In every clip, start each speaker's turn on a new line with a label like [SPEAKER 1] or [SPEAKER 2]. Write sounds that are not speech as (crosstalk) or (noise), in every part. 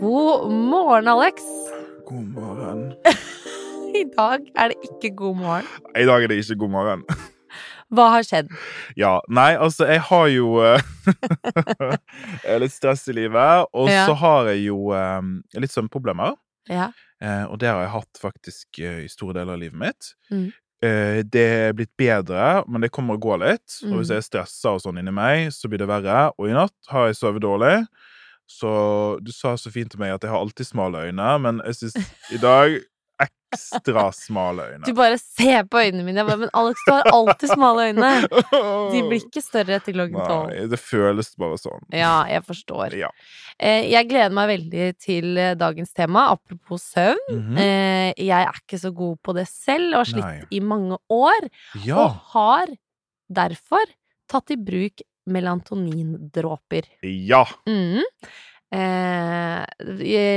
[SPEAKER 1] God morgen, Alex.
[SPEAKER 2] God morgen.
[SPEAKER 1] I dag er det ikke god morgen.
[SPEAKER 2] I dag er det ikke god morgen. (laughs)
[SPEAKER 1] Hva har skjedd?
[SPEAKER 2] Ja, nei, altså, jeg har jo eh, (laughs) jeg har litt stress i livet, og
[SPEAKER 1] Ja.
[SPEAKER 2] så har jeg jo eh, litt søvnproblemer.
[SPEAKER 1] Ja.
[SPEAKER 2] eh, Og det har jeg hatt faktisk eh, i store deler av livet mitt.
[SPEAKER 1] Mm.
[SPEAKER 2] Eh, Det er blitt bedre, men det kommer og går litt. Og hvis
[SPEAKER 1] Mm.
[SPEAKER 2] jeg er stressa og sånn inni meg, så blir det verre. Og i natt har jeg sovet dårlig. Så du sa så fint til meg at jeg har alltid smale øyne, men jeg syns i dag ekstra smale øyne.
[SPEAKER 1] (laughs) Du bare ser på øynene mine. Jeg bare, men Alex, du har alltid smale øyne. De blir ikke større etter klokken tolv.
[SPEAKER 2] Nei, det føles bare sånn.
[SPEAKER 1] Ja, jeg forstår.
[SPEAKER 2] Ja.
[SPEAKER 1] Eh, Jeg gleder meg veldig til eh, dagens tema, apropos søvn.
[SPEAKER 2] Mhm.
[SPEAKER 1] Eh, Jeg er ikke så god på det selv, og har slitt
[SPEAKER 2] Nei.
[SPEAKER 1] i mange år.
[SPEAKER 2] Ja.
[SPEAKER 1] Eh, Og har derfor tatt i bruk melatonindråper.
[SPEAKER 2] ja.
[SPEAKER 1] Mm. Eh,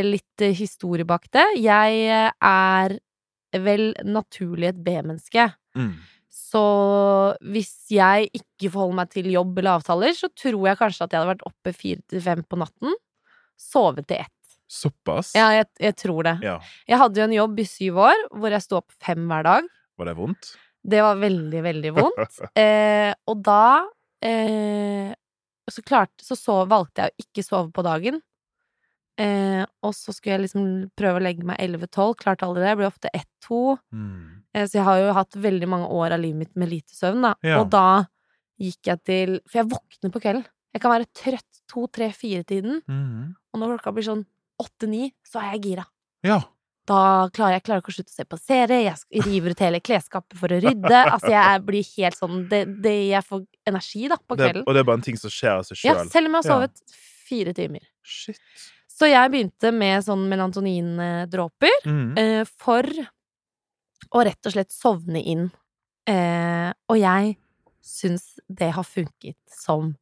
[SPEAKER 1] litt eh, historie bak det. Jeg eh, er vel naturlig et B-menneske.
[SPEAKER 2] Mm.
[SPEAKER 1] Så hvis jeg ikke forholder meg til jobb eller avtaler, så tror jeg kanskje at jeg hadde vært oppe fire til fem på natten. Sovet til ett.
[SPEAKER 2] Såpass?
[SPEAKER 1] Ja, jeg, jeg tror det.
[SPEAKER 2] Ja.
[SPEAKER 1] Jeg hadde jo en jobb i syv år hvor jeg sto opp fem hver dag.
[SPEAKER 2] Var det vondt?
[SPEAKER 1] Det var veldig, veldig vondt. Eh, og da eh, så, klarte, så, så valgte jeg å ikke sove på dagen. Eh, og så skulle jeg liksom prøve å legge meg 11-12. Klarte aldri det. Jeg ble ofte 1-2.
[SPEAKER 2] Mm.
[SPEAKER 1] Eh, så jeg har jo hatt veldig mange år av livet mitt med lite søvn, da.
[SPEAKER 2] Ja.
[SPEAKER 1] Og da gikk jeg til For jeg våkner på kvelden. Jeg kan være trøtt 2-3-4-tiden,
[SPEAKER 2] Mhm.
[SPEAKER 1] og når klokka blir sånn 8-9, så er jeg gira.
[SPEAKER 2] Ja.
[SPEAKER 1] Da klarer jeg klarer ikke å slutte å se på serie, jeg sk- river ut hele klesskapet for å rydde. Altså, jeg er- blir helt sånn det, det Jeg får energi, da, på
[SPEAKER 2] Det,
[SPEAKER 1] kvelden.
[SPEAKER 2] og det er bare en ting som skjer av seg
[SPEAKER 1] Ja,
[SPEAKER 2] sjøl.
[SPEAKER 1] selv om jeg har
[SPEAKER 2] Ja.
[SPEAKER 1] sovet fire timer.
[SPEAKER 2] Shit.
[SPEAKER 1] Så jeg begynte med sånn melatonindråper (laughs)
[SPEAKER 2] Mhm.
[SPEAKER 1] eh, for å rett og slett sovne inn. Eh, og jeg syns det har funket som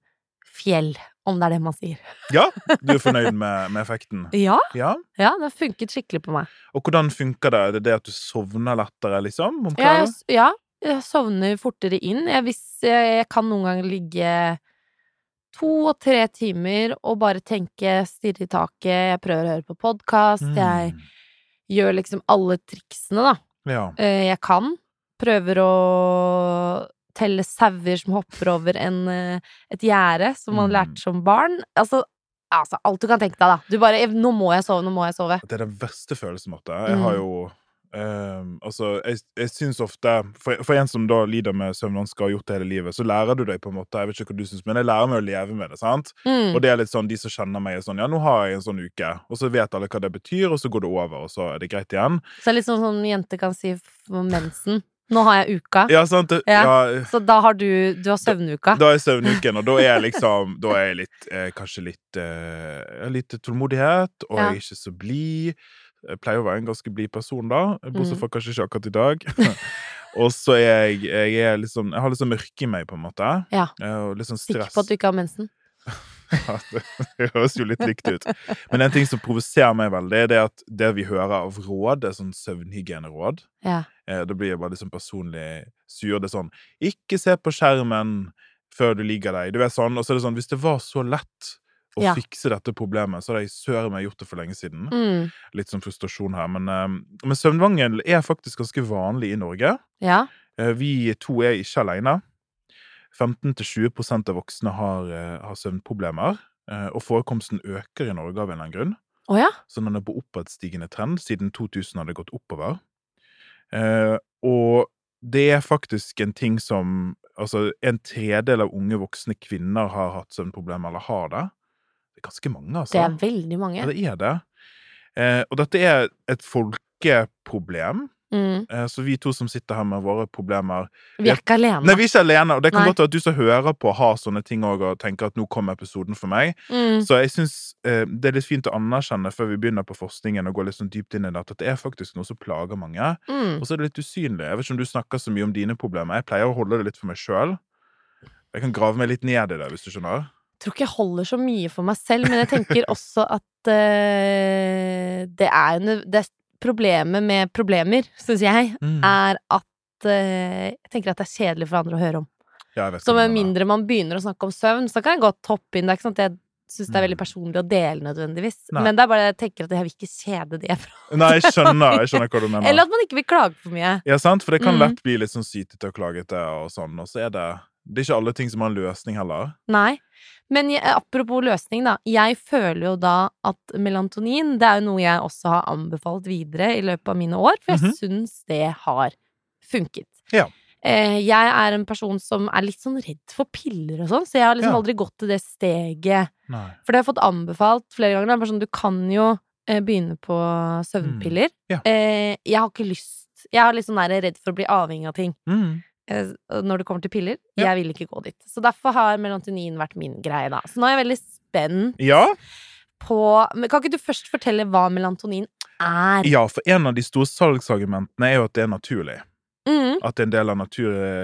[SPEAKER 1] fjell, om det er det man sier.
[SPEAKER 2] Ja, du er fornøyd med, med effekten?
[SPEAKER 1] Ja,
[SPEAKER 2] Ja.
[SPEAKER 1] ja det har funket skikkelig på meg.
[SPEAKER 2] Og hvordan funker det? Er det det at du sovner lettere, liksom? Om
[SPEAKER 1] Ja jeg,
[SPEAKER 2] kvelden?
[SPEAKER 1] s- ja, jeg sovner fortere inn. Jeg, hvis, jeg, jeg kan noen ganger ligge to og tre timer og bare tenke, stirre i taket, jeg prøver å høre på podkast, jeg
[SPEAKER 2] Mm.
[SPEAKER 1] gjør liksom alle triksene, da.
[SPEAKER 2] Ja.
[SPEAKER 1] Eh, Jeg kan. Prøver å telle sauer som hopper over en, eh, et gjerde, som man
[SPEAKER 2] Mm.
[SPEAKER 1] lærte som barn. Altså, altså, alt du kan tenke deg, da. Du bare 'Nå må jeg sove, nå må jeg sove'.
[SPEAKER 2] Det er den verste følelsen, Marte. Jeg har
[SPEAKER 1] Mm.
[SPEAKER 2] jo ehm, Altså, jeg, jeg syns ofte for, for en som da lider med søvnvansker og har gjort det hele livet, så lærer du deg på en måte Jeg vet ikke hva du syns, men jeg lærer meg å leve med det. sant?
[SPEAKER 1] Mm.
[SPEAKER 2] Og det er litt sånn, de som kjenner meg, er sånn Ja, nå har jeg en sånn uke. Og så vet alle hva det betyr, og så går det over, og så er det greit igjen.
[SPEAKER 1] Så det er litt sånn som jenter kan si for mensen. Nå har jeg uka.
[SPEAKER 2] Ja, sant? Det,
[SPEAKER 1] Ja.
[SPEAKER 2] ja.
[SPEAKER 1] Så da har du Du har søvnuka.
[SPEAKER 2] Da er søvnuken, og da er jeg liksom Da er jeg litt, eh, kanskje litt eh, ja, Litt tålmodighet, og
[SPEAKER 1] Ja.
[SPEAKER 2] jeg er ikke så blid. Jeg pleier å være en ganske blid person, da, bortsett
[SPEAKER 1] Mm.
[SPEAKER 2] fra kanskje ikke akkurat i dag. (laughs) og så er jeg, jeg er litt sånn Jeg har litt sånn mørke i meg, på en måte.
[SPEAKER 1] Ja.
[SPEAKER 2] Eh, Og litt sånn
[SPEAKER 1] Sikker
[SPEAKER 2] stress.
[SPEAKER 1] på at du ikke har mensen.
[SPEAKER 2] (laughs) Ja, det, det høres jo litt likt ut. Men en ting som provoserer meg veldig, det er at det vi hører av råd, er sånn søvnhygieneråd.
[SPEAKER 1] Ja.
[SPEAKER 2] Eh, Da blir jeg bare liksom personlig sur. Det er sånn Ikke se på skjermen før du ligger deg. Du er sånn, og så er det sånn Hvis det var så lett å
[SPEAKER 1] Ja.
[SPEAKER 2] fikse dette problemet, så hadde jeg søren meg gjort det for lenge siden.
[SPEAKER 1] Mm.
[SPEAKER 2] Litt sånn frustrasjon her. Men, eh, men søvnmangel er faktisk ganske vanlig i Norge.
[SPEAKER 1] ja.
[SPEAKER 2] Eh, Vi to er ikke alene. 15-20 prosent av voksne har, eh, har søvnproblemer. eh, Og forekomsten øker i Norge av en eller annen grunn.
[SPEAKER 1] Å ja.
[SPEAKER 2] Så den er på oppadstigende trend. Siden 2000 har det gått oppover. Eh, og det er faktisk en ting som Altså, en tredel av unge voksne kvinner har hatt søvnproblemer, eller har det. Det er ganske mange, altså.
[SPEAKER 1] Det er veldig mange.
[SPEAKER 2] Ja, det er det. Eh, og dette er et folkeproblem.
[SPEAKER 1] Mm.
[SPEAKER 2] Eh, så vi to som sitter her med våre problemer
[SPEAKER 1] Vi er ikke
[SPEAKER 2] Nei,
[SPEAKER 1] alene.
[SPEAKER 2] vi er ikke alene. Og det kan
[SPEAKER 1] Nei.
[SPEAKER 2] godt være at du som hører på, har sånne ting òg og tenker at nå kom episoden for meg.
[SPEAKER 1] Mm.
[SPEAKER 2] Så jeg syns eh, det er litt fint å anerkjenne før vi begynner på forskningen, og gå litt sånn dypt inn i det, at det er faktisk noe som plager mange.
[SPEAKER 1] Mm.
[SPEAKER 2] Og så er det litt usynlig. Jeg vet ikke om du snakker så mye om dine problemer. Jeg pleier å holde det litt for meg sjøl. Jeg kan grave meg litt ned i det, hvis du skjønner.
[SPEAKER 1] Jeg tror ikke jeg holder så mye for meg selv, men jeg tenker også at eh, det er jo nø- det er Problemet med problemer, syns jeg,
[SPEAKER 2] Mm.
[SPEAKER 1] er at eh, Jeg tenker at det er kjedelig for andre å høre om.
[SPEAKER 2] Ja, jeg vet
[SPEAKER 1] Så
[SPEAKER 2] hva
[SPEAKER 1] med
[SPEAKER 2] du mener.
[SPEAKER 1] mindre man begynner å snakke om søvn, så kan jeg godt hoppe inn. Det er ikke sånn at jeg syns det er veldig personlig å dele, nødvendigvis.
[SPEAKER 2] Mm. Nei.
[SPEAKER 1] Men det er bare jeg tenker at jeg vil ikke kjede de jeg prater
[SPEAKER 2] Nei, jeg skjønner, jeg skjønner
[SPEAKER 1] (laughs)
[SPEAKER 2] hva du
[SPEAKER 1] med. Eller
[SPEAKER 2] mener.
[SPEAKER 1] at man ikke vil klage for mye.
[SPEAKER 2] Ja, sant? For det kan
[SPEAKER 1] Mm.
[SPEAKER 2] lett bli litt sånn sytete og klagete, og sånn, og så er det Det er ikke alle ting som har en løsning heller.
[SPEAKER 1] Nei. Men jeg, apropos løsning, da. Jeg føler jo da at melatonin Det er jo noe jeg også har anbefalt videre i løpet av mine år, for jeg
[SPEAKER 2] Mhm.
[SPEAKER 1] syns det har funket.
[SPEAKER 2] Ja.
[SPEAKER 1] Eh, Jeg er en person som er litt sånn redd for piller og sånn, så jeg har liksom
[SPEAKER 2] Ja.
[SPEAKER 1] aldri gått til det steget.
[SPEAKER 2] Nei.
[SPEAKER 1] For det har jeg fått anbefalt flere ganger. Det er bare sånn, du kan jo eh, begynne på søvnpiller.
[SPEAKER 2] Mm. Ja.
[SPEAKER 1] Eh, Jeg har ikke lyst Jeg er litt sånn der redd for å bli avhengig av ting
[SPEAKER 2] Mm.
[SPEAKER 1] eh, når det kommer til piller.
[SPEAKER 2] Ja.
[SPEAKER 1] Jeg vil ikke gå dit. Så derfor har melatonin vært min greie, da. Så nå er jeg veldig spent
[SPEAKER 2] Ja,
[SPEAKER 1] på Men kan ikke du først fortelle hva melatonin er?
[SPEAKER 2] ja, for en av de store salgsargumentene er jo at det er naturlig.
[SPEAKER 1] Mm,
[SPEAKER 2] At det er en del av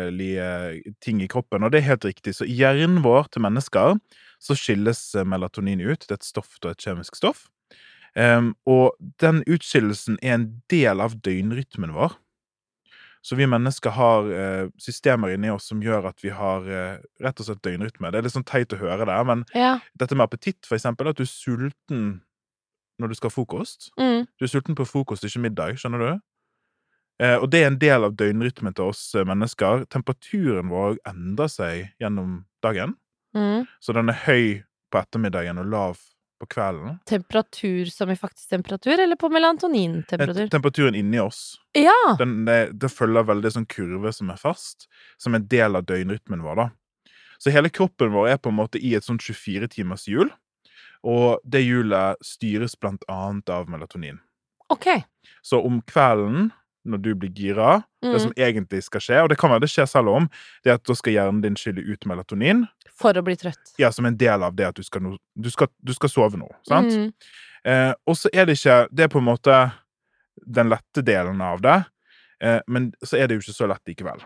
[SPEAKER 2] naturlige ting i kroppen. Og det er helt riktig. Så i hjernen vår til mennesker så skilles eh, melatonin ut. Det er et stoff og et kjemisk stoff. Ehm, og den utskillelsen er en del av døgnrytmen vår. Så vi mennesker har eh, systemer inni oss som gjør at vi har eh, rett og slett døgnrytme. Det er litt sånn teit å høre det, men
[SPEAKER 1] ja.
[SPEAKER 2] dette med appetitt, for eksempel, at du er sulten når du skal ha frokost.
[SPEAKER 1] Mm,
[SPEAKER 2] Du er sulten på frokost, ikke middag, skjønner du? Eh, og det er en del av døgnrytmen til oss eh, mennesker. Temperaturen vår endrer seg gjennom dagen,
[SPEAKER 1] mm.
[SPEAKER 2] så den er høy på ettermiddagen og lav på kvelden.
[SPEAKER 1] Temperatur som i faktisk temperatur, eller på
[SPEAKER 2] Eh,
[SPEAKER 1] melatonintemperatur?
[SPEAKER 2] Temperaturen inni oss
[SPEAKER 1] Ja!
[SPEAKER 2] den, det, det følger veldig sånn kurve som er fast, som en del av døgnrytmen vår, da. Så hele kroppen vår er på en måte i et sånt 24-timers hjul, og det hjulet styres blant annet av melatonin.
[SPEAKER 1] Ok.
[SPEAKER 2] Så om kvelden, når du blir gira,
[SPEAKER 1] Mm.
[SPEAKER 2] Det som egentlig skal skje, og det kan være det skjer selv om, det er at da skal hjernen din skylle ut melatonin,
[SPEAKER 1] For å bli trøtt.
[SPEAKER 2] ja, som en del av det at du skal, no, du skal, du skal sove nå. sant?
[SPEAKER 1] Mm.
[SPEAKER 2] Eh, og så er det ikke Det er på en måte den lette delen av det, eh, men så er det jo ikke så lett likevel.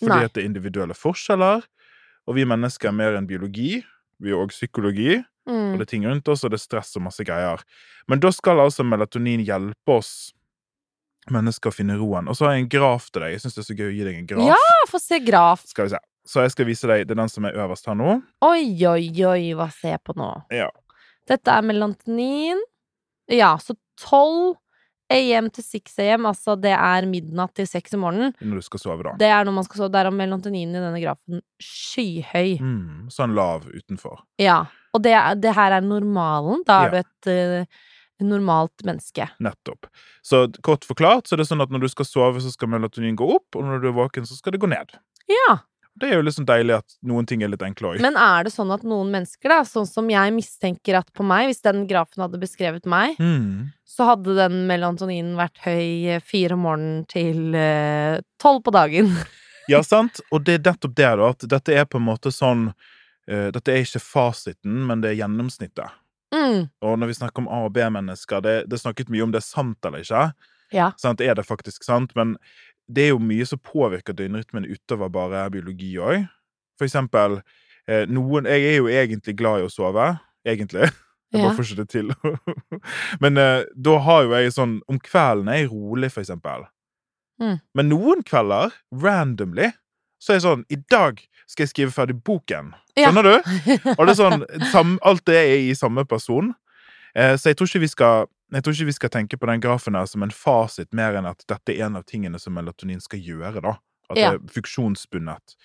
[SPEAKER 2] Fordi
[SPEAKER 1] Nei.
[SPEAKER 2] at det er individuelle forskjeller, og vi mennesker er mer enn biologi. Vi er òg psykologi, og
[SPEAKER 1] Mm.
[SPEAKER 2] det er ting rundt oss, og det er stress og masse greier. Men da skal altså melatonin hjelpe oss mennesker å finne roen. Og så har jeg en graf til deg. Jeg syns det er så gøy å gi deg en graf.
[SPEAKER 1] Ja, få se graf.
[SPEAKER 2] Skal vi se. Så jeg skal vise deg det er den som er øverst her nå.
[SPEAKER 1] Oi, oi, oi, hva ser jeg på nå?
[SPEAKER 2] Ja.
[SPEAKER 1] Dette er melatonin. Ja, så 12 AM til 6 AM, altså det er midnatt til 6 om morgenen.
[SPEAKER 2] Når du skal sove, da.
[SPEAKER 1] Det er når man skal sove. Der er melatoninen i denne grafen skyhøy.
[SPEAKER 2] Mm, sånn lav utenfor.
[SPEAKER 1] Ja. Og det, er- det her er normalen. Da er du
[SPEAKER 2] Ja.
[SPEAKER 1] et eh, normalt menneske.
[SPEAKER 2] Nettopp. Så d- kort forklart så er det sånn at når du skal sove, så skal melatonin gå opp, og når du er våken, så skal det gå ned.
[SPEAKER 1] Ja.
[SPEAKER 2] Det er jo liksom deilig at noen ting er litt enkle òg.
[SPEAKER 1] Men er det sånn at noen mennesker, da, sånn som jeg mistenker at på meg, hvis den grafen hadde beskrevet meg,
[SPEAKER 2] Mm.
[SPEAKER 1] så hadde den melatoninen vært høy eh, fire om morgenen til eh, tolv på dagen. (laughs)
[SPEAKER 2] Ja, sant? Og det er nettopp det, da. At dette er på en måte sånn eh, Dette er ikke fasiten, men det er gjennomsnittet.
[SPEAKER 1] Mm.
[SPEAKER 2] Og når vi snakker om A- og B-mennesker, det, det er snakket mye om det er sant eller ikke.
[SPEAKER 1] Ja.
[SPEAKER 2] Sant? Er det faktisk sant? Men det er jo mye som påvirker døgnrytmen utover bare biologi òg. For eksempel eh, noen Jeg er jo egentlig glad i å sove. Egentlig. Jeg
[SPEAKER 1] Ja.
[SPEAKER 2] bare får ikke det til. (laughs) Men eh, da har jo jeg sånn Om kvelden er jeg rolig, for eksempel.
[SPEAKER 1] Mm.
[SPEAKER 2] Men noen kvelder, randomly, så er jeg sånn I dag skal jeg skrive ferdig boken.
[SPEAKER 1] Ja.
[SPEAKER 2] Skjønner du?
[SPEAKER 1] (laughs)
[SPEAKER 2] Og det er sånn, sam, alt det er i samme person. Eh, så jeg tror, ikke vi skal, jeg tror ikke vi skal tenke på den grafen her som en fasit, mer enn at dette er en av tingene som melatonin skal gjøre. da. At
[SPEAKER 1] Ja.
[SPEAKER 2] det er funksjonsbundet.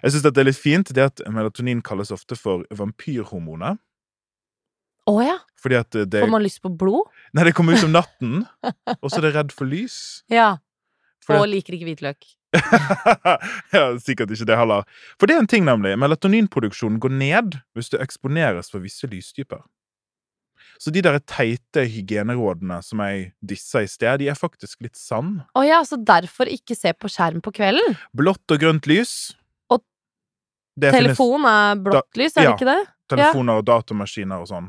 [SPEAKER 2] Jeg syns det er litt fint det at melatonin kalles ofte for vampyrhormonet.
[SPEAKER 1] Å ja.
[SPEAKER 2] Fordi at eh, det,
[SPEAKER 1] Får man lyst på blod?
[SPEAKER 2] nei, det kommer ut om natten, og så er det redd for lys.
[SPEAKER 1] Ja.
[SPEAKER 2] Fordi
[SPEAKER 1] Og
[SPEAKER 2] at-
[SPEAKER 1] liker ikke hvitløk.
[SPEAKER 2] (laughs) ja, sikkert ikke det heller. For det er en ting, nemlig. Melatoninproduksjonen går ned hvis du eksponeres for visse lystyper. Så de der teite hygienerådene som jeg dissa i sted, de er faktisk litt sann.
[SPEAKER 1] Å ja, så derfor ikke se på skjerm på kvelden?
[SPEAKER 2] Blått og grønt lys
[SPEAKER 1] Og
[SPEAKER 2] Det finnes
[SPEAKER 1] Telefon er blått lys, er det
[SPEAKER 2] ja.
[SPEAKER 1] ikke det?
[SPEAKER 2] telefoner og datamaskiner og sånn.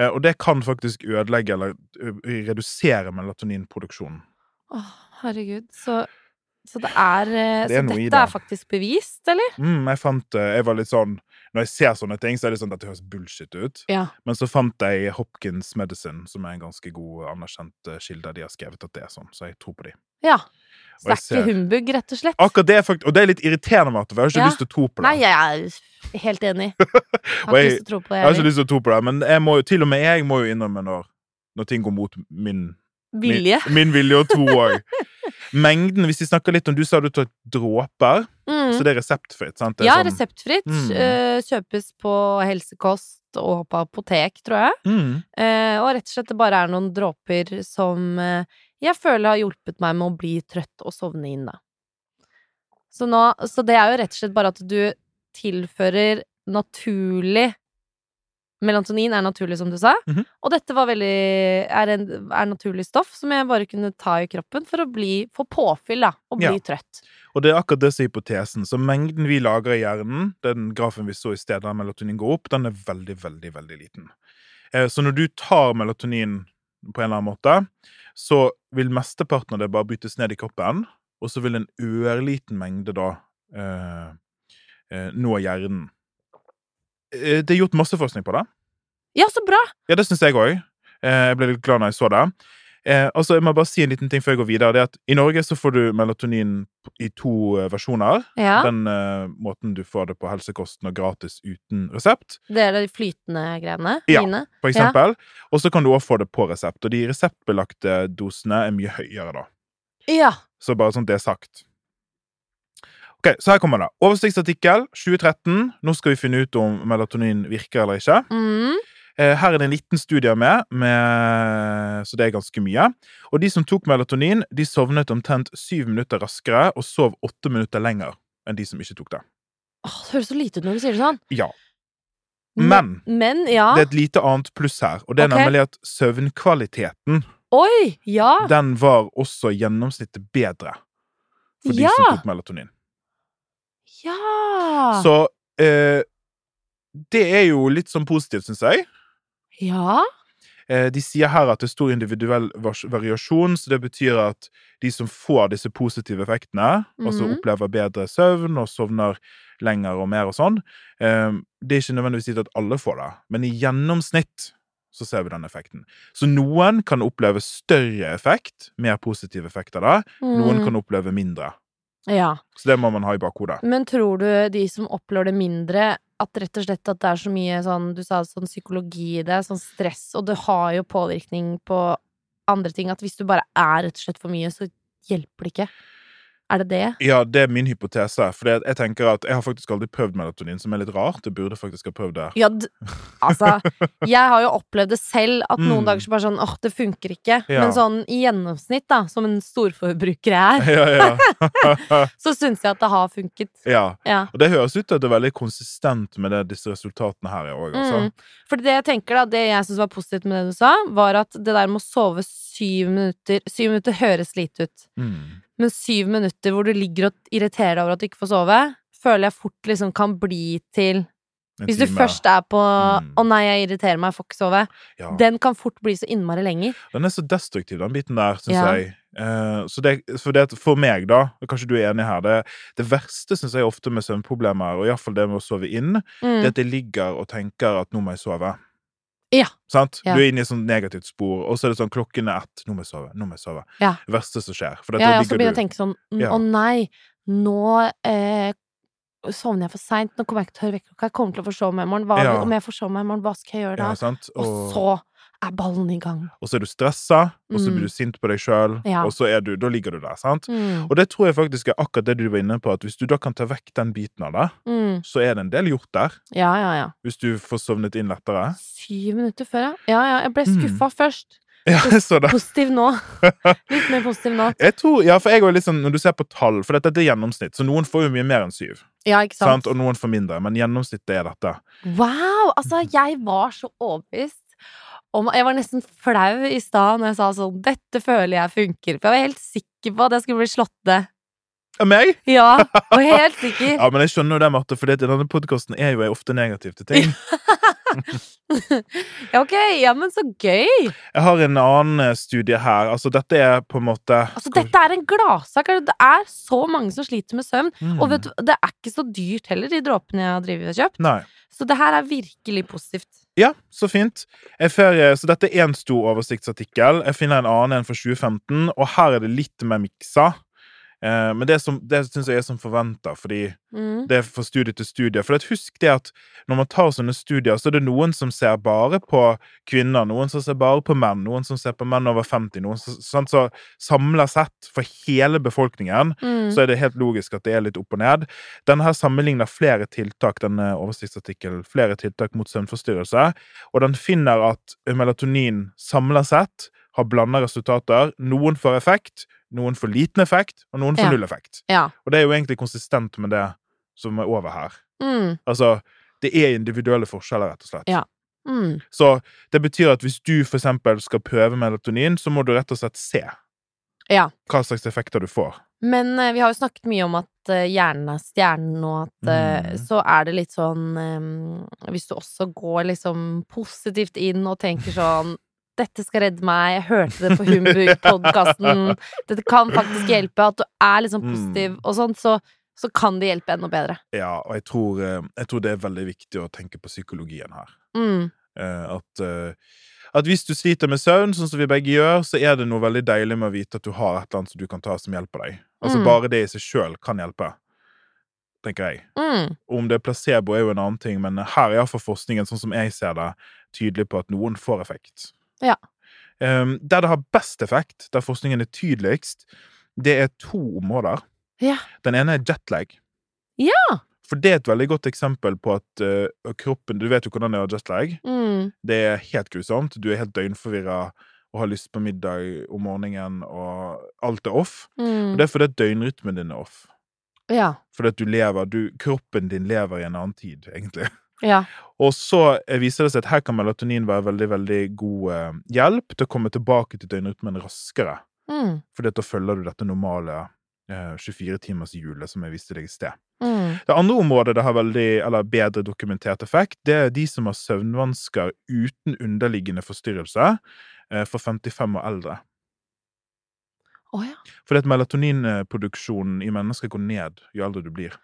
[SPEAKER 2] Eh, Og det kan faktisk ødelegge eller ø, redusere melatoninproduksjonen.
[SPEAKER 1] Åh, herregud. Så, så det er, eh,
[SPEAKER 2] Det er
[SPEAKER 1] Så
[SPEAKER 2] noe i
[SPEAKER 1] dette
[SPEAKER 2] det.
[SPEAKER 1] er faktisk bevist, eller?
[SPEAKER 2] Mm, jeg fant eh, Jeg var litt sånn Når jeg ser sånne ting, så er det sånn at det høres bullshit ut.
[SPEAKER 1] Ja.
[SPEAKER 2] Men så fant jeg Hopkins eh, Medicine, som er en ganske god anerkjent eh, kilde. De har skrevet at det er sånn, så jeg tror på de.
[SPEAKER 1] Ja. Så det er ikke humbug, rett og slett.
[SPEAKER 2] Akkurat det er fakt og det er litt irriterende, Marte, for jeg har ikke
[SPEAKER 1] Ja.
[SPEAKER 2] lyst til å tro på det.
[SPEAKER 1] Nei, jeg er helt enig.
[SPEAKER 2] (laughs)
[SPEAKER 1] Har
[SPEAKER 2] Og
[SPEAKER 1] ikke
[SPEAKER 2] jeg-
[SPEAKER 1] lyst til å tro på det.
[SPEAKER 2] Jeg har ikke
[SPEAKER 1] heller.
[SPEAKER 2] lyst til å tro på det, men jeg må jo, til og med jeg må jo innrømme når, når ting går mot min,
[SPEAKER 1] Vilje.
[SPEAKER 2] min, min vilje og tro
[SPEAKER 1] (laughs)
[SPEAKER 2] òg. Mengden, hvis vi snakker litt om Du sa du tar dråper, så
[SPEAKER 1] Mm.
[SPEAKER 2] det er reseptfritt, sant? Det er
[SPEAKER 1] Ja,
[SPEAKER 2] sånn-
[SPEAKER 1] reseptfritt.
[SPEAKER 2] Mm.
[SPEAKER 1] eh, kjøpes på helsekost og på apotek, tror jeg.
[SPEAKER 2] Mm,
[SPEAKER 1] Eh, og rett og slett det bare er noen dråper som eh, jeg føler har hjulpet meg med å bli trøtt og sovne inn, da. Så, nå, så det er jo rett og slett bare at du tilfører naturlig Melatonin er naturlig, som du sa.
[SPEAKER 2] Mhm.
[SPEAKER 1] Og dette var veldig, er, en, er naturlig stoff som jeg bare kunne ta i kroppen for å bli, få påfyll da, og bli
[SPEAKER 2] Ja.
[SPEAKER 1] trøtt.
[SPEAKER 2] Og det er akkurat det som er hypotesen. Så mengden vi lager i hjernen, den grafen vi så i sted der melatonin går opp, den er veldig, veldig, veldig liten. Eh, Så når du tar melatonin på en eller annen måte, så vil mesteparten av det bare brytes ned i kroppen, og så vil en ørliten mengde da eh, eh, nå hjernen. Eh, Det er gjort masse forskning på det.
[SPEAKER 1] Ja, så bra!
[SPEAKER 2] Ja, det syns jeg òg. Jeg ble litt glad når jeg så det. Eh, altså, jeg må bare si en liten ting før jeg går videre. Det er at I Norge så får du melatonin i to eh, versjoner.
[SPEAKER 1] Ja,
[SPEAKER 2] Den eh, måten du får det på helsekosten og gratis uten resept,
[SPEAKER 1] Det er de flytende greiene.
[SPEAKER 2] Ja.
[SPEAKER 1] Mine.
[SPEAKER 2] for eksempel. Og så kan du òg få det på resept. Og de reseptbelagte dosene er mye høyere, da.
[SPEAKER 1] Ja.
[SPEAKER 2] Så bare sånn det er sagt. Ok, Så her kommer det. Oversiktsartikkel 2013. Nå skal vi finne ut om melatonin virker eller ikke.
[SPEAKER 1] Mm.
[SPEAKER 2] Eh, Her er det en liten studie med, med, så det er ganske mye. Og de som tok melatonin, de sovnet omtrent syv minutter raskere og sov åtte minutter lenger enn de som ikke tok det.
[SPEAKER 1] Åh, det høres så lite ut når du sier det sånn.
[SPEAKER 2] Ja. Men-
[SPEAKER 1] Men, ja.
[SPEAKER 2] Det er et lite annet pluss her, og det er
[SPEAKER 1] Ok.
[SPEAKER 2] nemlig at søvnkvaliteten,
[SPEAKER 1] Oi! Ja!
[SPEAKER 2] den var også i gjennomsnittet bedre for de
[SPEAKER 1] Ja!
[SPEAKER 2] som tok melatonin.
[SPEAKER 1] Ja!
[SPEAKER 2] Så eh, det er jo litt sånn positivt, syns jeg.
[SPEAKER 1] Ja.
[SPEAKER 2] Eh, De sier her at det er stor individuell vars- variasjon, så det betyr at de som får disse positive effektene, altså
[SPEAKER 1] Mhm.
[SPEAKER 2] opplever bedre søvn og sovner lenger og mer og sånn, eh, det er ikke nødvendigvis gitt at alle får det, men i gjennomsnitt så ser vi den effekten. Så noen kan oppleve større effekt, mer positiv effekt av det, noen
[SPEAKER 1] Mm.
[SPEAKER 2] kan oppleve mindre.
[SPEAKER 1] ja.
[SPEAKER 2] Så det må man ha i bakhodet.
[SPEAKER 1] Men tror du de som opplever det mindre, at rett og slett at det er så mye sånn Du sa sånn psykologi i det, sånn stress, og det har jo påvirkning på andre ting. At hvis du bare er rett og slett for mye, så hjelper det ikke. Er det det?
[SPEAKER 2] Ja, det er min hypotese, for jeg tenker at jeg har faktisk aldri prøvd melatonin, som er litt rart, jeg burde faktisk ha prøvd det.
[SPEAKER 1] Ja, d altså Jeg har jo opplevd det selv, at noen
[SPEAKER 2] Mm.
[SPEAKER 1] dager så bare sånn åh, det funker ikke.
[SPEAKER 2] Ja.
[SPEAKER 1] Men sånn i gjennomsnitt, da, som en storforbruker jeg
[SPEAKER 2] (laughs)
[SPEAKER 1] er,
[SPEAKER 2] Ja, ja.
[SPEAKER 1] så syns jeg at det har funket.
[SPEAKER 2] ja.
[SPEAKER 1] Ja.
[SPEAKER 2] Og det høres ut til at det er veldig konsistent med det, disse resultatene her òg, altså.
[SPEAKER 1] Mm. For det jeg tenker da, det jeg synes var positivt med det du sa, var at det der med å sove syv minutter Syv minutter høres lite ut,
[SPEAKER 2] Mm.
[SPEAKER 1] men syv minutter hvor du ligger og irriterer deg over at du ikke får sove, føler jeg fort liksom kan bli til
[SPEAKER 2] En
[SPEAKER 1] Hvis du
[SPEAKER 2] time.
[SPEAKER 1] først er på
[SPEAKER 2] Mm.
[SPEAKER 1] 'Å nei, jeg irriterer meg, jeg får ikke sove',
[SPEAKER 2] ja.
[SPEAKER 1] den kan fort bli så innmari lenger.
[SPEAKER 2] Den er så destruktiv, den biten der, syns
[SPEAKER 1] Ja.
[SPEAKER 2] jeg. Eh, så det, for, det, at- for meg, da, og kanskje du er enig her, det, det verste syns jeg ofte med søvnproblemer, og iallfall det med å sove inn, det er
[SPEAKER 1] Mm.
[SPEAKER 2] at jeg ligger og tenker at nå må jeg sove.
[SPEAKER 1] Ja.
[SPEAKER 2] Sant?
[SPEAKER 1] Ja.
[SPEAKER 2] Du er inne i et sånt negativt spor, og så er det sånn klokken er ett, nå må jeg sove, nå må jeg sove.
[SPEAKER 1] Ja.
[SPEAKER 2] Det verste som skjer. For dette
[SPEAKER 1] Ja, jeg også
[SPEAKER 2] ligger
[SPEAKER 1] begynner å
[SPEAKER 2] du
[SPEAKER 1] tenke sånn «N-
[SPEAKER 2] Ja.
[SPEAKER 1] Å nei, nå eh, sovner jeg for seint, nå kommer jeg ikke til å høre vekkerklokka, jeg kommer til å forsove meg i morgen. Hva,
[SPEAKER 2] Ja.
[SPEAKER 1] Om jeg forsover meg i morgen, hva skal jeg gjøre da?
[SPEAKER 2] ja, sant?
[SPEAKER 1] Og så er ballen i gang.
[SPEAKER 2] og så er du stressa, og så
[SPEAKER 1] Mm.
[SPEAKER 2] blir du sint på deg sjøl,
[SPEAKER 1] Ja.
[SPEAKER 2] og så er du, da ligger du der. sant?
[SPEAKER 1] Mm.
[SPEAKER 2] Og det tror jeg faktisk er akkurat det du var inne på, at hvis du da kan ta vekk den biten av det,
[SPEAKER 1] Mm.
[SPEAKER 2] så er det en del gjort der,
[SPEAKER 1] Ja, ja, ja.
[SPEAKER 2] hvis du får sovnet inn lettere.
[SPEAKER 1] Syv minutter før, ja. Ja, ja. Jeg ble
[SPEAKER 2] Mm.
[SPEAKER 1] skuffa
[SPEAKER 2] (laughs)
[SPEAKER 1] først.
[SPEAKER 2] Ja, jeg så det.
[SPEAKER 1] Positiv nå. Litt mer positiv nå.
[SPEAKER 2] Jeg tror, ja, for jeg var litt sånn, Når du ser på tall, for dette er gjennomsnitt, så noen får jo mye mer enn syv,
[SPEAKER 1] Ja, ikke sant?
[SPEAKER 2] sant? og noen får mindre, men gjennomsnittet er dette.
[SPEAKER 1] Wow! Altså,
[SPEAKER 2] Mm.
[SPEAKER 1] jeg var så overbevist. Om, jeg var nesten flau i stad når jeg sa sånn 'Dette føler jeg funker'. For jeg var helt sikker på at jeg skulle bli slått ned.
[SPEAKER 2] Er Meg?
[SPEAKER 1] Ja, og helt sikker.
[SPEAKER 2] (laughs) Ja, men jeg skjønner jo det, Marte, for denne podkasten er jo jeg ofte negativ
[SPEAKER 1] (laughs)
[SPEAKER 2] til ting.
[SPEAKER 1] Ja, ok, ja, men så gøy!
[SPEAKER 2] Jeg har en annen eh, studie her. Altså, dette er på en måte
[SPEAKER 1] Altså, dette er en gladsak. er det- Det er så mange som sliter med søvn.
[SPEAKER 2] Mm.
[SPEAKER 1] Og vet du, det er ikke så dyrt heller, de dråpene jeg har drevet og kjøpt.
[SPEAKER 2] Nei.
[SPEAKER 1] Så det her er virkelig positivt.
[SPEAKER 2] Ja, så fint. Jeg fer, så dette er én stor oversiktsartikkel. Jeg finner en annen en fra 2015, og her er det litt mer miksa. Eh, men det, som- det syns jeg er som forventa, fordi
[SPEAKER 1] Mm.
[SPEAKER 2] det er fra studie til studie. For at husk det at når man tar sånne studier, så er det noen som ser bare på kvinner, noen som ser bare på menn, noen som ser på menn over 50, noen som sånn, så samla sett for hele befolkningen,
[SPEAKER 1] Mm.
[SPEAKER 2] så er det helt logisk at det er litt opp og ned. Denne her sammenligner flere tiltak, denne oversiktsartikkelen, flere tiltak mot søvnforstyrrelse, og den finner at melatonin samla sett har blanda resultater. Noen får effekt, noen får liten effekt, og noen får
[SPEAKER 1] Ja.
[SPEAKER 2] null effekt.
[SPEAKER 1] Ja.
[SPEAKER 2] Og det er jo egentlig konsistent med det som er over her.
[SPEAKER 1] Mm.
[SPEAKER 2] Altså, det er individuelle forskjeller, rett og slett.
[SPEAKER 1] Ja. Mm.
[SPEAKER 2] Så det betyr at hvis du for eksempel skal prøve melatonin, så må du rett og slett se
[SPEAKER 1] Ja.
[SPEAKER 2] hva slags effekter du får.
[SPEAKER 1] Men eh, vi har jo snakket mye om at eh, hjernen er stjernen, og at eh,
[SPEAKER 2] Mm.
[SPEAKER 1] så er det litt sånn eh, Hvis du også går liksom positivt inn og tenker sånn dette skal redde meg, jeg hørte det på Humbug-podkasten.
[SPEAKER 2] (laughs)
[SPEAKER 1] Dette kan faktisk hjelpe. At du er liksom positiv
[SPEAKER 2] Mm.
[SPEAKER 1] og sånn, så, så kan det hjelpe enda bedre.
[SPEAKER 2] Ja, og jeg tror, eh, jeg tror det er veldig viktig å tenke på psykologien her.
[SPEAKER 1] Mm.
[SPEAKER 2] Eh, At, eh, at hvis du sliter med søvn, sånn som vi begge gjør, så er det noe veldig deilig med å vite at du har et eller annet som du kan ta som hjelper deg. Altså
[SPEAKER 1] Mm.
[SPEAKER 2] bare det i seg sjøl kan hjelpe, tenker jeg.
[SPEAKER 1] Mm.
[SPEAKER 2] Om det er placebo er jo en annen ting, men her er iallfall forskningen, sånn som jeg ser det, tydelig på at noen får effekt.
[SPEAKER 1] Ja.
[SPEAKER 2] Ehm, der det har best effekt, der forskningen er tydeligst, det er to områder.
[SPEAKER 1] Ja.
[SPEAKER 2] Den ene er jetlag.
[SPEAKER 1] Ja!
[SPEAKER 2] For det er et veldig godt eksempel på at eh, kroppen Du vet jo hvordan det er å ha jetlag.
[SPEAKER 1] Mm.
[SPEAKER 2] Det er helt grusomt. Du er helt døgnforvirra og har lyst på middag om morgenen, og alt er off. Og
[SPEAKER 1] Mm.
[SPEAKER 2] det er fordi at døgnrytmen din er off.
[SPEAKER 1] Ja.
[SPEAKER 2] Fordi at du lever, du, kroppen din lever i en annen tid, egentlig.
[SPEAKER 1] Ja.
[SPEAKER 2] Og så eh, viser det seg at her kan melatonin være veldig veldig god eh, hjelp til å komme tilbake til døgnrytmen raskere.
[SPEAKER 1] Mm.
[SPEAKER 2] Fordi at da følger du dette normale eh, 24-timershjulet som jeg viste deg i sted.
[SPEAKER 1] Mm.
[SPEAKER 2] Det andre området det har veldig, eller bedre dokumentert effekt, det er de som har søvnvansker uten underliggende forstyrrelse eh, for 55 og eldre.
[SPEAKER 1] Å ja.
[SPEAKER 2] Fordi at melatoninproduksjonen i mennesker går ned jo eldre du blir.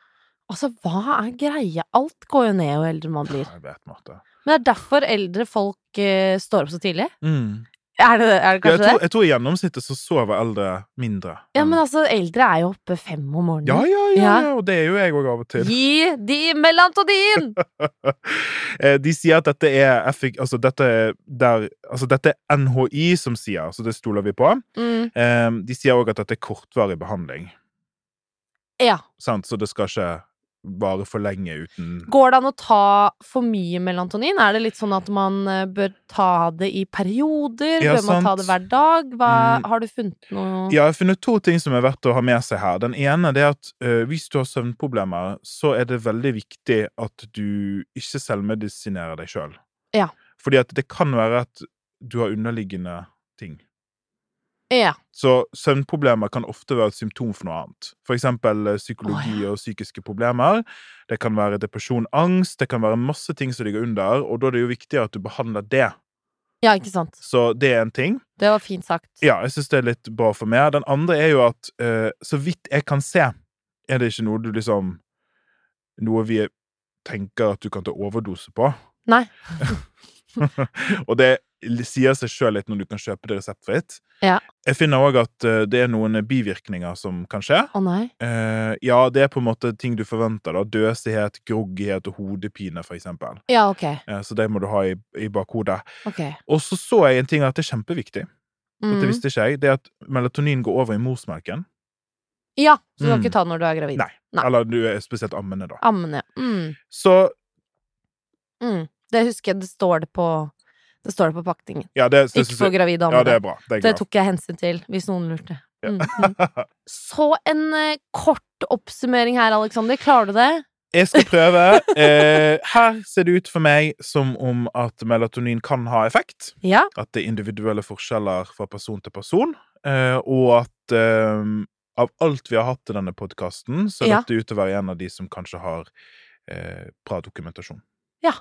[SPEAKER 1] Altså, hva er greia? Alt går jo ned jo eldre man blir.
[SPEAKER 2] Jeg vet, Marte.
[SPEAKER 1] Men det er derfor eldre folk eh, står opp så tidlig?
[SPEAKER 2] Mm.
[SPEAKER 1] Er det, er det
[SPEAKER 2] Ja, jeg,
[SPEAKER 1] kanskje
[SPEAKER 2] tror,
[SPEAKER 1] det?
[SPEAKER 2] jeg tror i gjennomsnittet så sover eldre mindre.
[SPEAKER 1] Ja,
[SPEAKER 2] enn-
[SPEAKER 1] men altså, eldre er jo oppe fem om morgenen.
[SPEAKER 2] Ja, ja, ja,
[SPEAKER 1] Ja.
[SPEAKER 2] ja, og det er jo jeg òg av og til.
[SPEAKER 1] Gi de melatonin!
[SPEAKER 2] (laughs) Eh, De sier at dette er, effek- altså dette, er der, altså dette er NHI som sier, så det stoler vi på.
[SPEAKER 1] Mm,
[SPEAKER 2] Eh, De sier òg at dette er kortvarig behandling,
[SPEAKER 1] ja.
[SPEAKER 2] sant? så det skal ikke vare for lenge uten
[SPEAKER 1] Går det an å ta for mye melatonin? Er det litt sånn at man eh, bør ta det i perioder?
[SPEAKER 2] Ja,
[SPEAKER 1] bør man ta
[SPEAKER 2] sant.
[SPEAKER 1] det hver dag? Hva,
[SPEAKER 2] Mm.
[SPEAKER 1] Har du funnet noe
[SPEAKER 2] Ja, jeg har funnet to ting som er verdt å ha med seg her. Den ene det er at eh, hvis du har søvnproblemer, så er det veldig viktig at du ikke selvmedisinerer deg sjøl.
[SPEAKER 1] Ja.
[SPEAKER 2] Fordi at det kan være at du har underliggende ting.
[SPEAKER 1] Ja.
[SPEAKER 2] Så søvnproblemer kan ofte være et symptom for noe annet. For eksempel eh, psykologi
[SPEAKER 1] Å,
[SPEAKER 2] og psykiske problemer. Det kan være depresjon, angst, det kan være masse ting som ligger under, og da er det jo viktig at du behandler det.
[SPEAKER 1] ja, ikke sant.
[SPEAKER 2] Så det er en ting.
[SPEAKER 1] Det var fint sagt.
[SPEAKER 2] Ja, jeg syns det er litt bra for meg. Den andre er jo at eh, så vidt jeg kan se, er det ikke noe du liksom Noe vi tenker at du kan ta overdose på.
[SPEAKER 1] Nei.
[SPEAKER 2] (laughs) og det sier seg sjøl litt når du kan kjøpe det reseptfritt.
[SPEAKER 1] Ja.
[SPEAKER 2] Jeg finner òg at eh, det er noen bivirkninger som kan skje.
[SPEAKER 1] Å nei.
[SPEAKER 2] Eh, ja, det er på en måte ting du forventer. da Døsighet, groggighet og hodepine, for eksempel.
[SPEAKER 1] Ja, ok.
[SPEAKER 2] Eh, så det må du ha i, i bakhodet.
[SPEAKER 1] Ok.
[SPEAKER 2] Og så så jeg en ting at det er kjempeviktig. Dette
[SPEAKER 1] Mm.
[SPEAKER 2] visste ikke jeg. Det er at melatonin går over i morsmelken.
[SPEAKER 1] Ja, så du kan
[SPEAKER 2] Mm.
[SPEAKER 1] ikke ta det når du er gravid.
[SPEAKER 2] Nei.
[SPEAKER 1] Nei.
[SPEAKER 2] Eller du er spesielt ammende, da.
[SPEAKER 1] Ammende. Mm.
[SPEAKER 2] Så
[SPEAKER 1] Mm. Det husker jeg, det står det på Det står det på pakningen.
[SPEAKER 2] ja, det, det,
[SPEAKER 1] Ikke for gravid dame.
[SPEAKER 2] ja, det
[SPEAKER 1] det,
[SPEAKER 2] er bra. Det er
[SPEAKER 1] det
[SPEAKER 2] glad.
[SPEAKER 1] tok jeg hensyn til, hvis noen lurte. Mm. Mm.
[SPEAKER 2] (laughs)
[SPEAKER 1] Så en eh, kort oppsummering her, Aleksander. Klarer du det?
[SPEAKER 2] Jeg skal
[SPEAKER 1] (laughs)
[SPEAKER 2] prøve. Eh, her ser det ut for meg som om at melatonin kan ha effekt.
[SPEAKER 1] Ja.
[SPEAKER 2] At det er individuelle forskjeller fra person til person. Eh, og at eh, av alt vi har hatt i denne podkasten, så er
[SPEAKER 1] Ja.
[SPEAKER 2] dette ut til å være en av de som kanskje har eh, bra dokumentasjon.
[SPEAKER 1] Ja.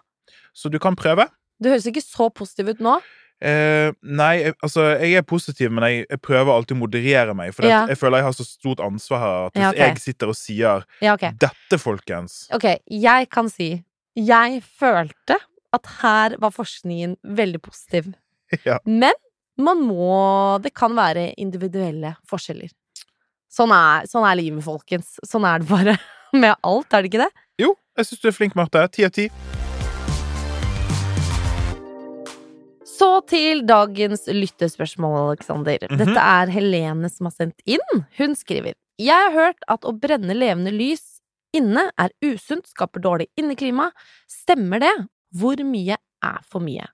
[SPEAKER 2] Så du kan prøve.
[SPEAKER 1] Du høres ikke så positiv ut nå.
[SPEAKER 2] Eh, nei, jeg- altså, jeg er positiv, men jeg, jeg prøver alltid å moderere meg. For
[SPEAKER 1] Ja.
[SPEAKER 2] jeg føler jeg har så stort ansvar her at hvis
[SPEAKER 1] Ja, ok.
[SPEAKER 2] jeg sitter og sier
[SPEAKER 1] Ja, ok.
[SPEAKER 2] 'Dette, folkens' (laughs)
[SPEAKER 1] Ok, jeg kan si Jeg følte at her var forskningen veldig positiv.
[SPEAKER 2] Ja.
[SPEAKER 1] Men man må Det kan være individuelle forskjeller. Sånn er, sånn er livet, folkens. Sånn er det bare (laughs) med alt, er det ikke det?
[SPEAKER 2] Jo, jeg syns du er flink, Marte. Ti av ti.
[SPEAKER 1] Så til dagens lyttespørsmål, Alexander.
[SPEAKER 2] Mhm.
[SPEAKER 1] Dette er Helene som har sendt inn. Hun skriver Jeg har hørt at å brenne levende lys inne er usunt, skaper dårlig inneklima. Stemmer det? Hvor mye er for mye?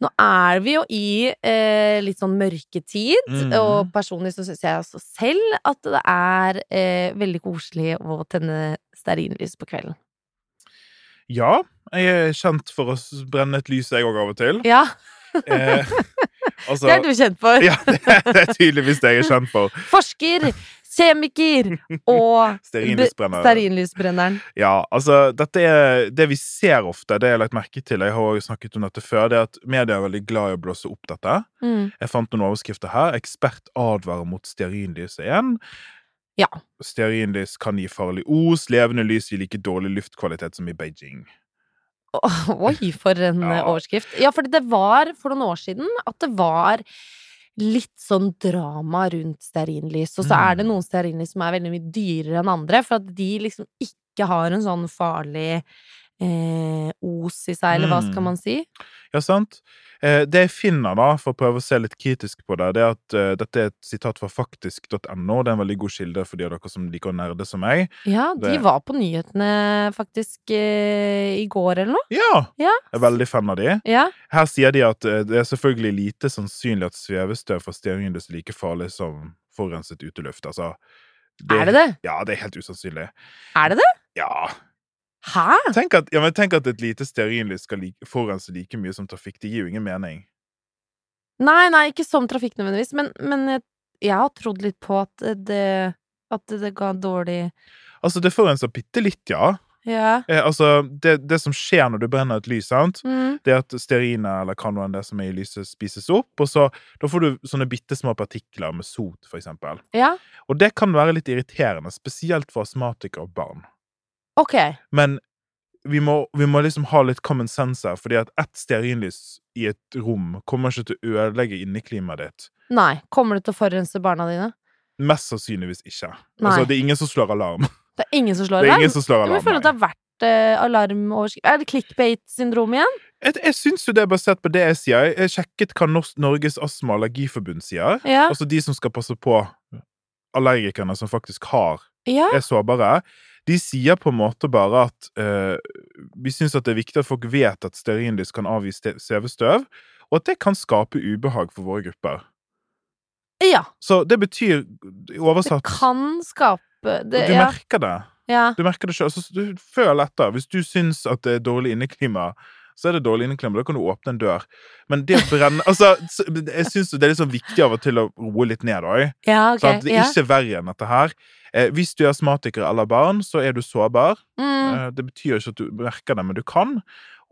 [SPEAKER 1] Nå er vi jo i eh, litt sånn mørketid,
[SPEAKER 2] Mhm.
[SPEAKER 1] og personlig så syns jeg også selv at det er eh, veldig koselig å tenne stearinlys på kvelden.
[SPEAKER 2] Ja, jeg er kjent for å s- brenne et lys, jeg òg, av og til.
[SPEAKER 1] Ja, (laughs)
[SPEAKER 2] Eh, altså,
[SPEAKER 1] det er du kjent for.
[SPEAKER 2] (laughs) Ja, det det er tydeligvis det jeg er kjent for.
[SPEAKER 1] Forsker, kjemiker og
[SPEAKER 2] Stearinlysbrenner.
[SPEAKER 1] Stearinlysbrenneren.
[SPEAKER 2] Ja, altså, dette er det vi ser ofte, det jeg har lagt merke til, jeg har også snakket om dette før, det er at media er veldig glad i å blåse opp dette.
[SPEAKER 1] Mm.
[SPEAKER 2] Jeg fant noen overskrifter her. Ekspert advarer mot stearinlys igjen.
[SPEAKER 1] Ja.
[SPEAKER 2] Stearinlys kan gi farlig os. Levende lys gir like dårlig luftkvalitet som i Beijing.
[SPEAKER 1] Å, (laughs) Oi, for en
[SPEAKER 2] Ja.
[SPEAKER 1] eh, overskrift. Ja, fordi det var for noen år siden at det var litt sånn drama rundt stearinlys. Og så
[SPEAKER 2] Mm.
[SPEAKER 1] er det noen stearinlys som er veldig mye dyrere enn andre, for at de liksom ikke har en sånn farlig eh, os i seg, eller hva
[SPEAKER 2] Mm.
[SPEAKER 1] skal man si?
[SPEAKER 2] Ja, sant? Eh, Det jeg finner, da, for å prøve å se litt kritisk på det, det er at eh, dette er et sitat fra faktisk.no. Det er en veldig god kilde for de av dere som liker å nerde som meg.
[SPEAKER 1] Ja, de
[SPEAKER 2] Det-
[SPEAKER 1] var på nyhetene faktisk eh, i går eller noe.
[SPEAKER 2] Ja!
[SPEAKER 1] Ja.
[SPEAKER 2] Jeg er veldig fan av de.
[SPEAKER 1] Ja.
[SPEAKER 2] Her sier de at eh, det er selvfølgelig lite sannsynlig at svevestøv fra stearinlys er like farlig som forurenset uteluft. Altså,
[SPEAKER 1] Er det det?
[SPEAKER 2] Ja, det er helt usannsynlig.
[SPEAKER 1] Er det det?
[SPEAKER 2] Ja,
[SPEAKER 1] Hæ?
[SPEAKER 2] Tenk at, ja, men tenk at et lite stearinlys skal like, forurense like mye som trafikk. Det gir jo ingen mening.
[SPEAKER 1] Nei, nei, ikke som trafikk nødvendigvis, men, men jeg, jeg har trodd litt på at det, at det ga dårlig
[SPEAKER 2] Altså, det forurenser bitte litt, ja.
[SPEAKER 1] Ja.
[SPEAKER 2] Eh, altså, det, det som skjer når du brenner et lys, sant,
[SPEAKER 1] Mm.
[SPEAKER 2] det er at stearinet eller kanoen det som er i lyset, spises opp, og så da får du sånne bitte små partikler med sot, for eksempel.
[SPEAKER 1] Ja,
[SPEAKER 2] Og det kan være litt irriterende, spesielt for astmatikere og barn.
[SPEAKER 1] ok.
[SPEAKER 2] Men vi må, vi må liksom ha litt common sense her, fordi at ett stearinlys i et rom kommer ikke til å ødelegge inneklimaet ditt.
[SPEAKER 1] Nei. Kommer det til å forurense barna dine?
[SPEAKER 2] Mest sannsynligvis ikke.
[SPEAKER 1] Nei.
[SPEAKER 2] Altså, det er ingen som slår alarm.
[SPEAKER 1] Det er ingen som slår
[SPEAKER 2] Det er
[SPEAKER 1] alarm?
[SPEAKER 2] ingen som slår
[SPEAKER 1] Ja, men jeg føler
[SPEAKER 2] alarm.
[SPEAKER 1] at det
[SPEAKER 2] nei.
[SPEAKER 1] har vært eh, alarmoverskrift Er det clickbait-syndrom igjen?
[SPEAKER 2] Jeg, jeg syns jo det er basert på det jeg sier. Jeg- Jeg sjekket hva Nors Norges astma- og allergiforbund sier.
[SPEAKER 1] Ja.
[SPEAKER 2] Altså de som skal passe på allergikerne som faktisk har,
[SPEAKER 1] ja.
[SPEAKER 2] er sårbare. De sier på en måte bare at eh, vi syns at det er viktig at folk vet at stearinlys kan avgi ste- svevestøv, og at det kan skape ubehag for våre grupper.
[SPEAKER 1] ja.
[SPEAKER 2] Så det betyr
[SPEAKER 1] Det
[SPEAKER 2] oversatt
[SPEAKER 1] kan skape det,
[SPEAKER 2] Du
[SPEAKER 1] ja.
[SPEAKER 2] merker det.
[SPEAKER 1] ja.
[SPEAKER 2] Du merker det sjøl. Du føler etter. Hvis du syns at det er dårlig inneklima, så er det dårlig inneklima. Da kan du åpne en dør. Men det å brenne (laughs) Altså, s- jeg syns det er litt sånn viktig av og til å roe litt ned òg.
[SPEAKER 1] Ja, ok.
[SPEAKER 2] Det er
[SPEAKER 1] Ja.
[SPEAKER 2] ikke verre enn dette her. Eh, hvis du er astmatiker eller barn, så er du sårbar.
[SPEAKER 1] Mm.
[SPEAKER 2] Eh, det betyr ikke at du merker det, men du kan.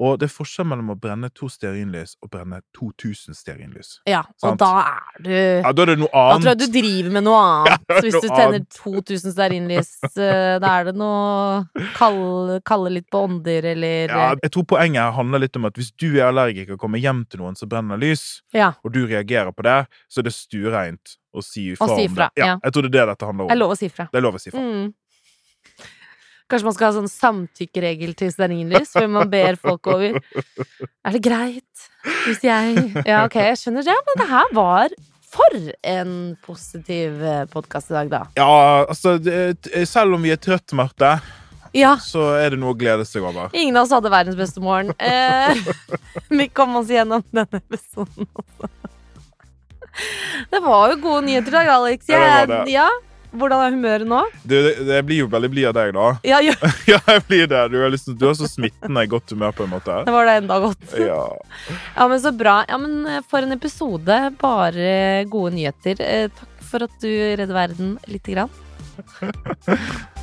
[SPEAKER 2] Og det er forskjell mellom å brenne to stearinlys og brenne 2000
[SPEAKER 1] (laughs)
[SPEAKER 2] stearinlys.
[SPEAKER 1] ja. Og
[SPEAKER 2] sant.
[SPEAKER 1] da er du
[SPEAKER 2] Ja, da er det noe
[SPEAKER 1] Da tror jeg
[SPEAKER 2] annet.
[SPEAKER 1] du driver med noe annet.
[SPEAKER 2] (laughs) Ja,
[SPEAKER 1] hvis du
[SPEAKER 2] noe
[SPEAKER 1] tenner
[SPEAKER 2] annet.
[SPEAKER 1] 2000 stearinlys, eh, da er det noe kalle, kalle litt på ånder, eller eh,
[SPEAKER 2] Ja, jeg tror poenget her handler litt om at hvis du er allergiker og kommer hjem til noen som brenner lys,
[SPEAKER 1] Ja.
[SPEAKER 2] og du reagerer på det, så er det stuereint å si ifra
[SPEAKER 1] Å si
[SPEAKER 2] om
[SPEAKER 1] ifra,
[SPEAKER 2] det. Ja,
[SPEAKER 1] ja.
[SPEAKER 2] Jeg tror det er det dette handler
[SPEAKER 1] Det er
[SPEAKER 2] om.
[SPEAKER 1] lov å si fra.
[SPEAKER 2] Det er lov å si ifra.
[SPEAKER 1] Mm. Kanskje man skal ha sånn samtykkeregel til stearinlys, hvor man ber folk
[SPEAKER 2] (laughs)
[SPEAKER 1] over Er det greit hvis jeg Ja, ok, jeg skjønner det, men det her var for en positiv podkast i dag, da.
[SPEAKER 2] Ja, altså, det, selv om vi er trøtt, Marte,
[SPEAKER 1] Ja.
[SPEAKER 2] så er det noe å glede seg over.
[SPEAKER 1] Ingen av oss hadde verdens beste morgen. Eh, (laughs) vi kom oss gjennom denne episoden også. Det var jo gode nyheter i dag, Alex.
[SPEAKER 2] Ja, det var
[SPEAKER 1] Jeg-
[SPEAKER 2] det.
[SPEAKER 1] ja. Hvordan er humøret nå?
[SPEAKER 2] Du, det, det blir jo veldig blid av deg, da. (laughs)
[SPEAKER 1] Ja, jo,
[SPEAKER 2] ja, jeg blir det. Du er, liksom, du er så smittende i godt humør, på en måte.
[SPEAKER 1] (laughs) det var det enda godt.
[SPEAKER 2] Ja.
[SPEAKER 1] Ja, men så bra. Ja, men eh, for en episode. Bare gode nyheter. Eh, takk for at du redder verden lite grann.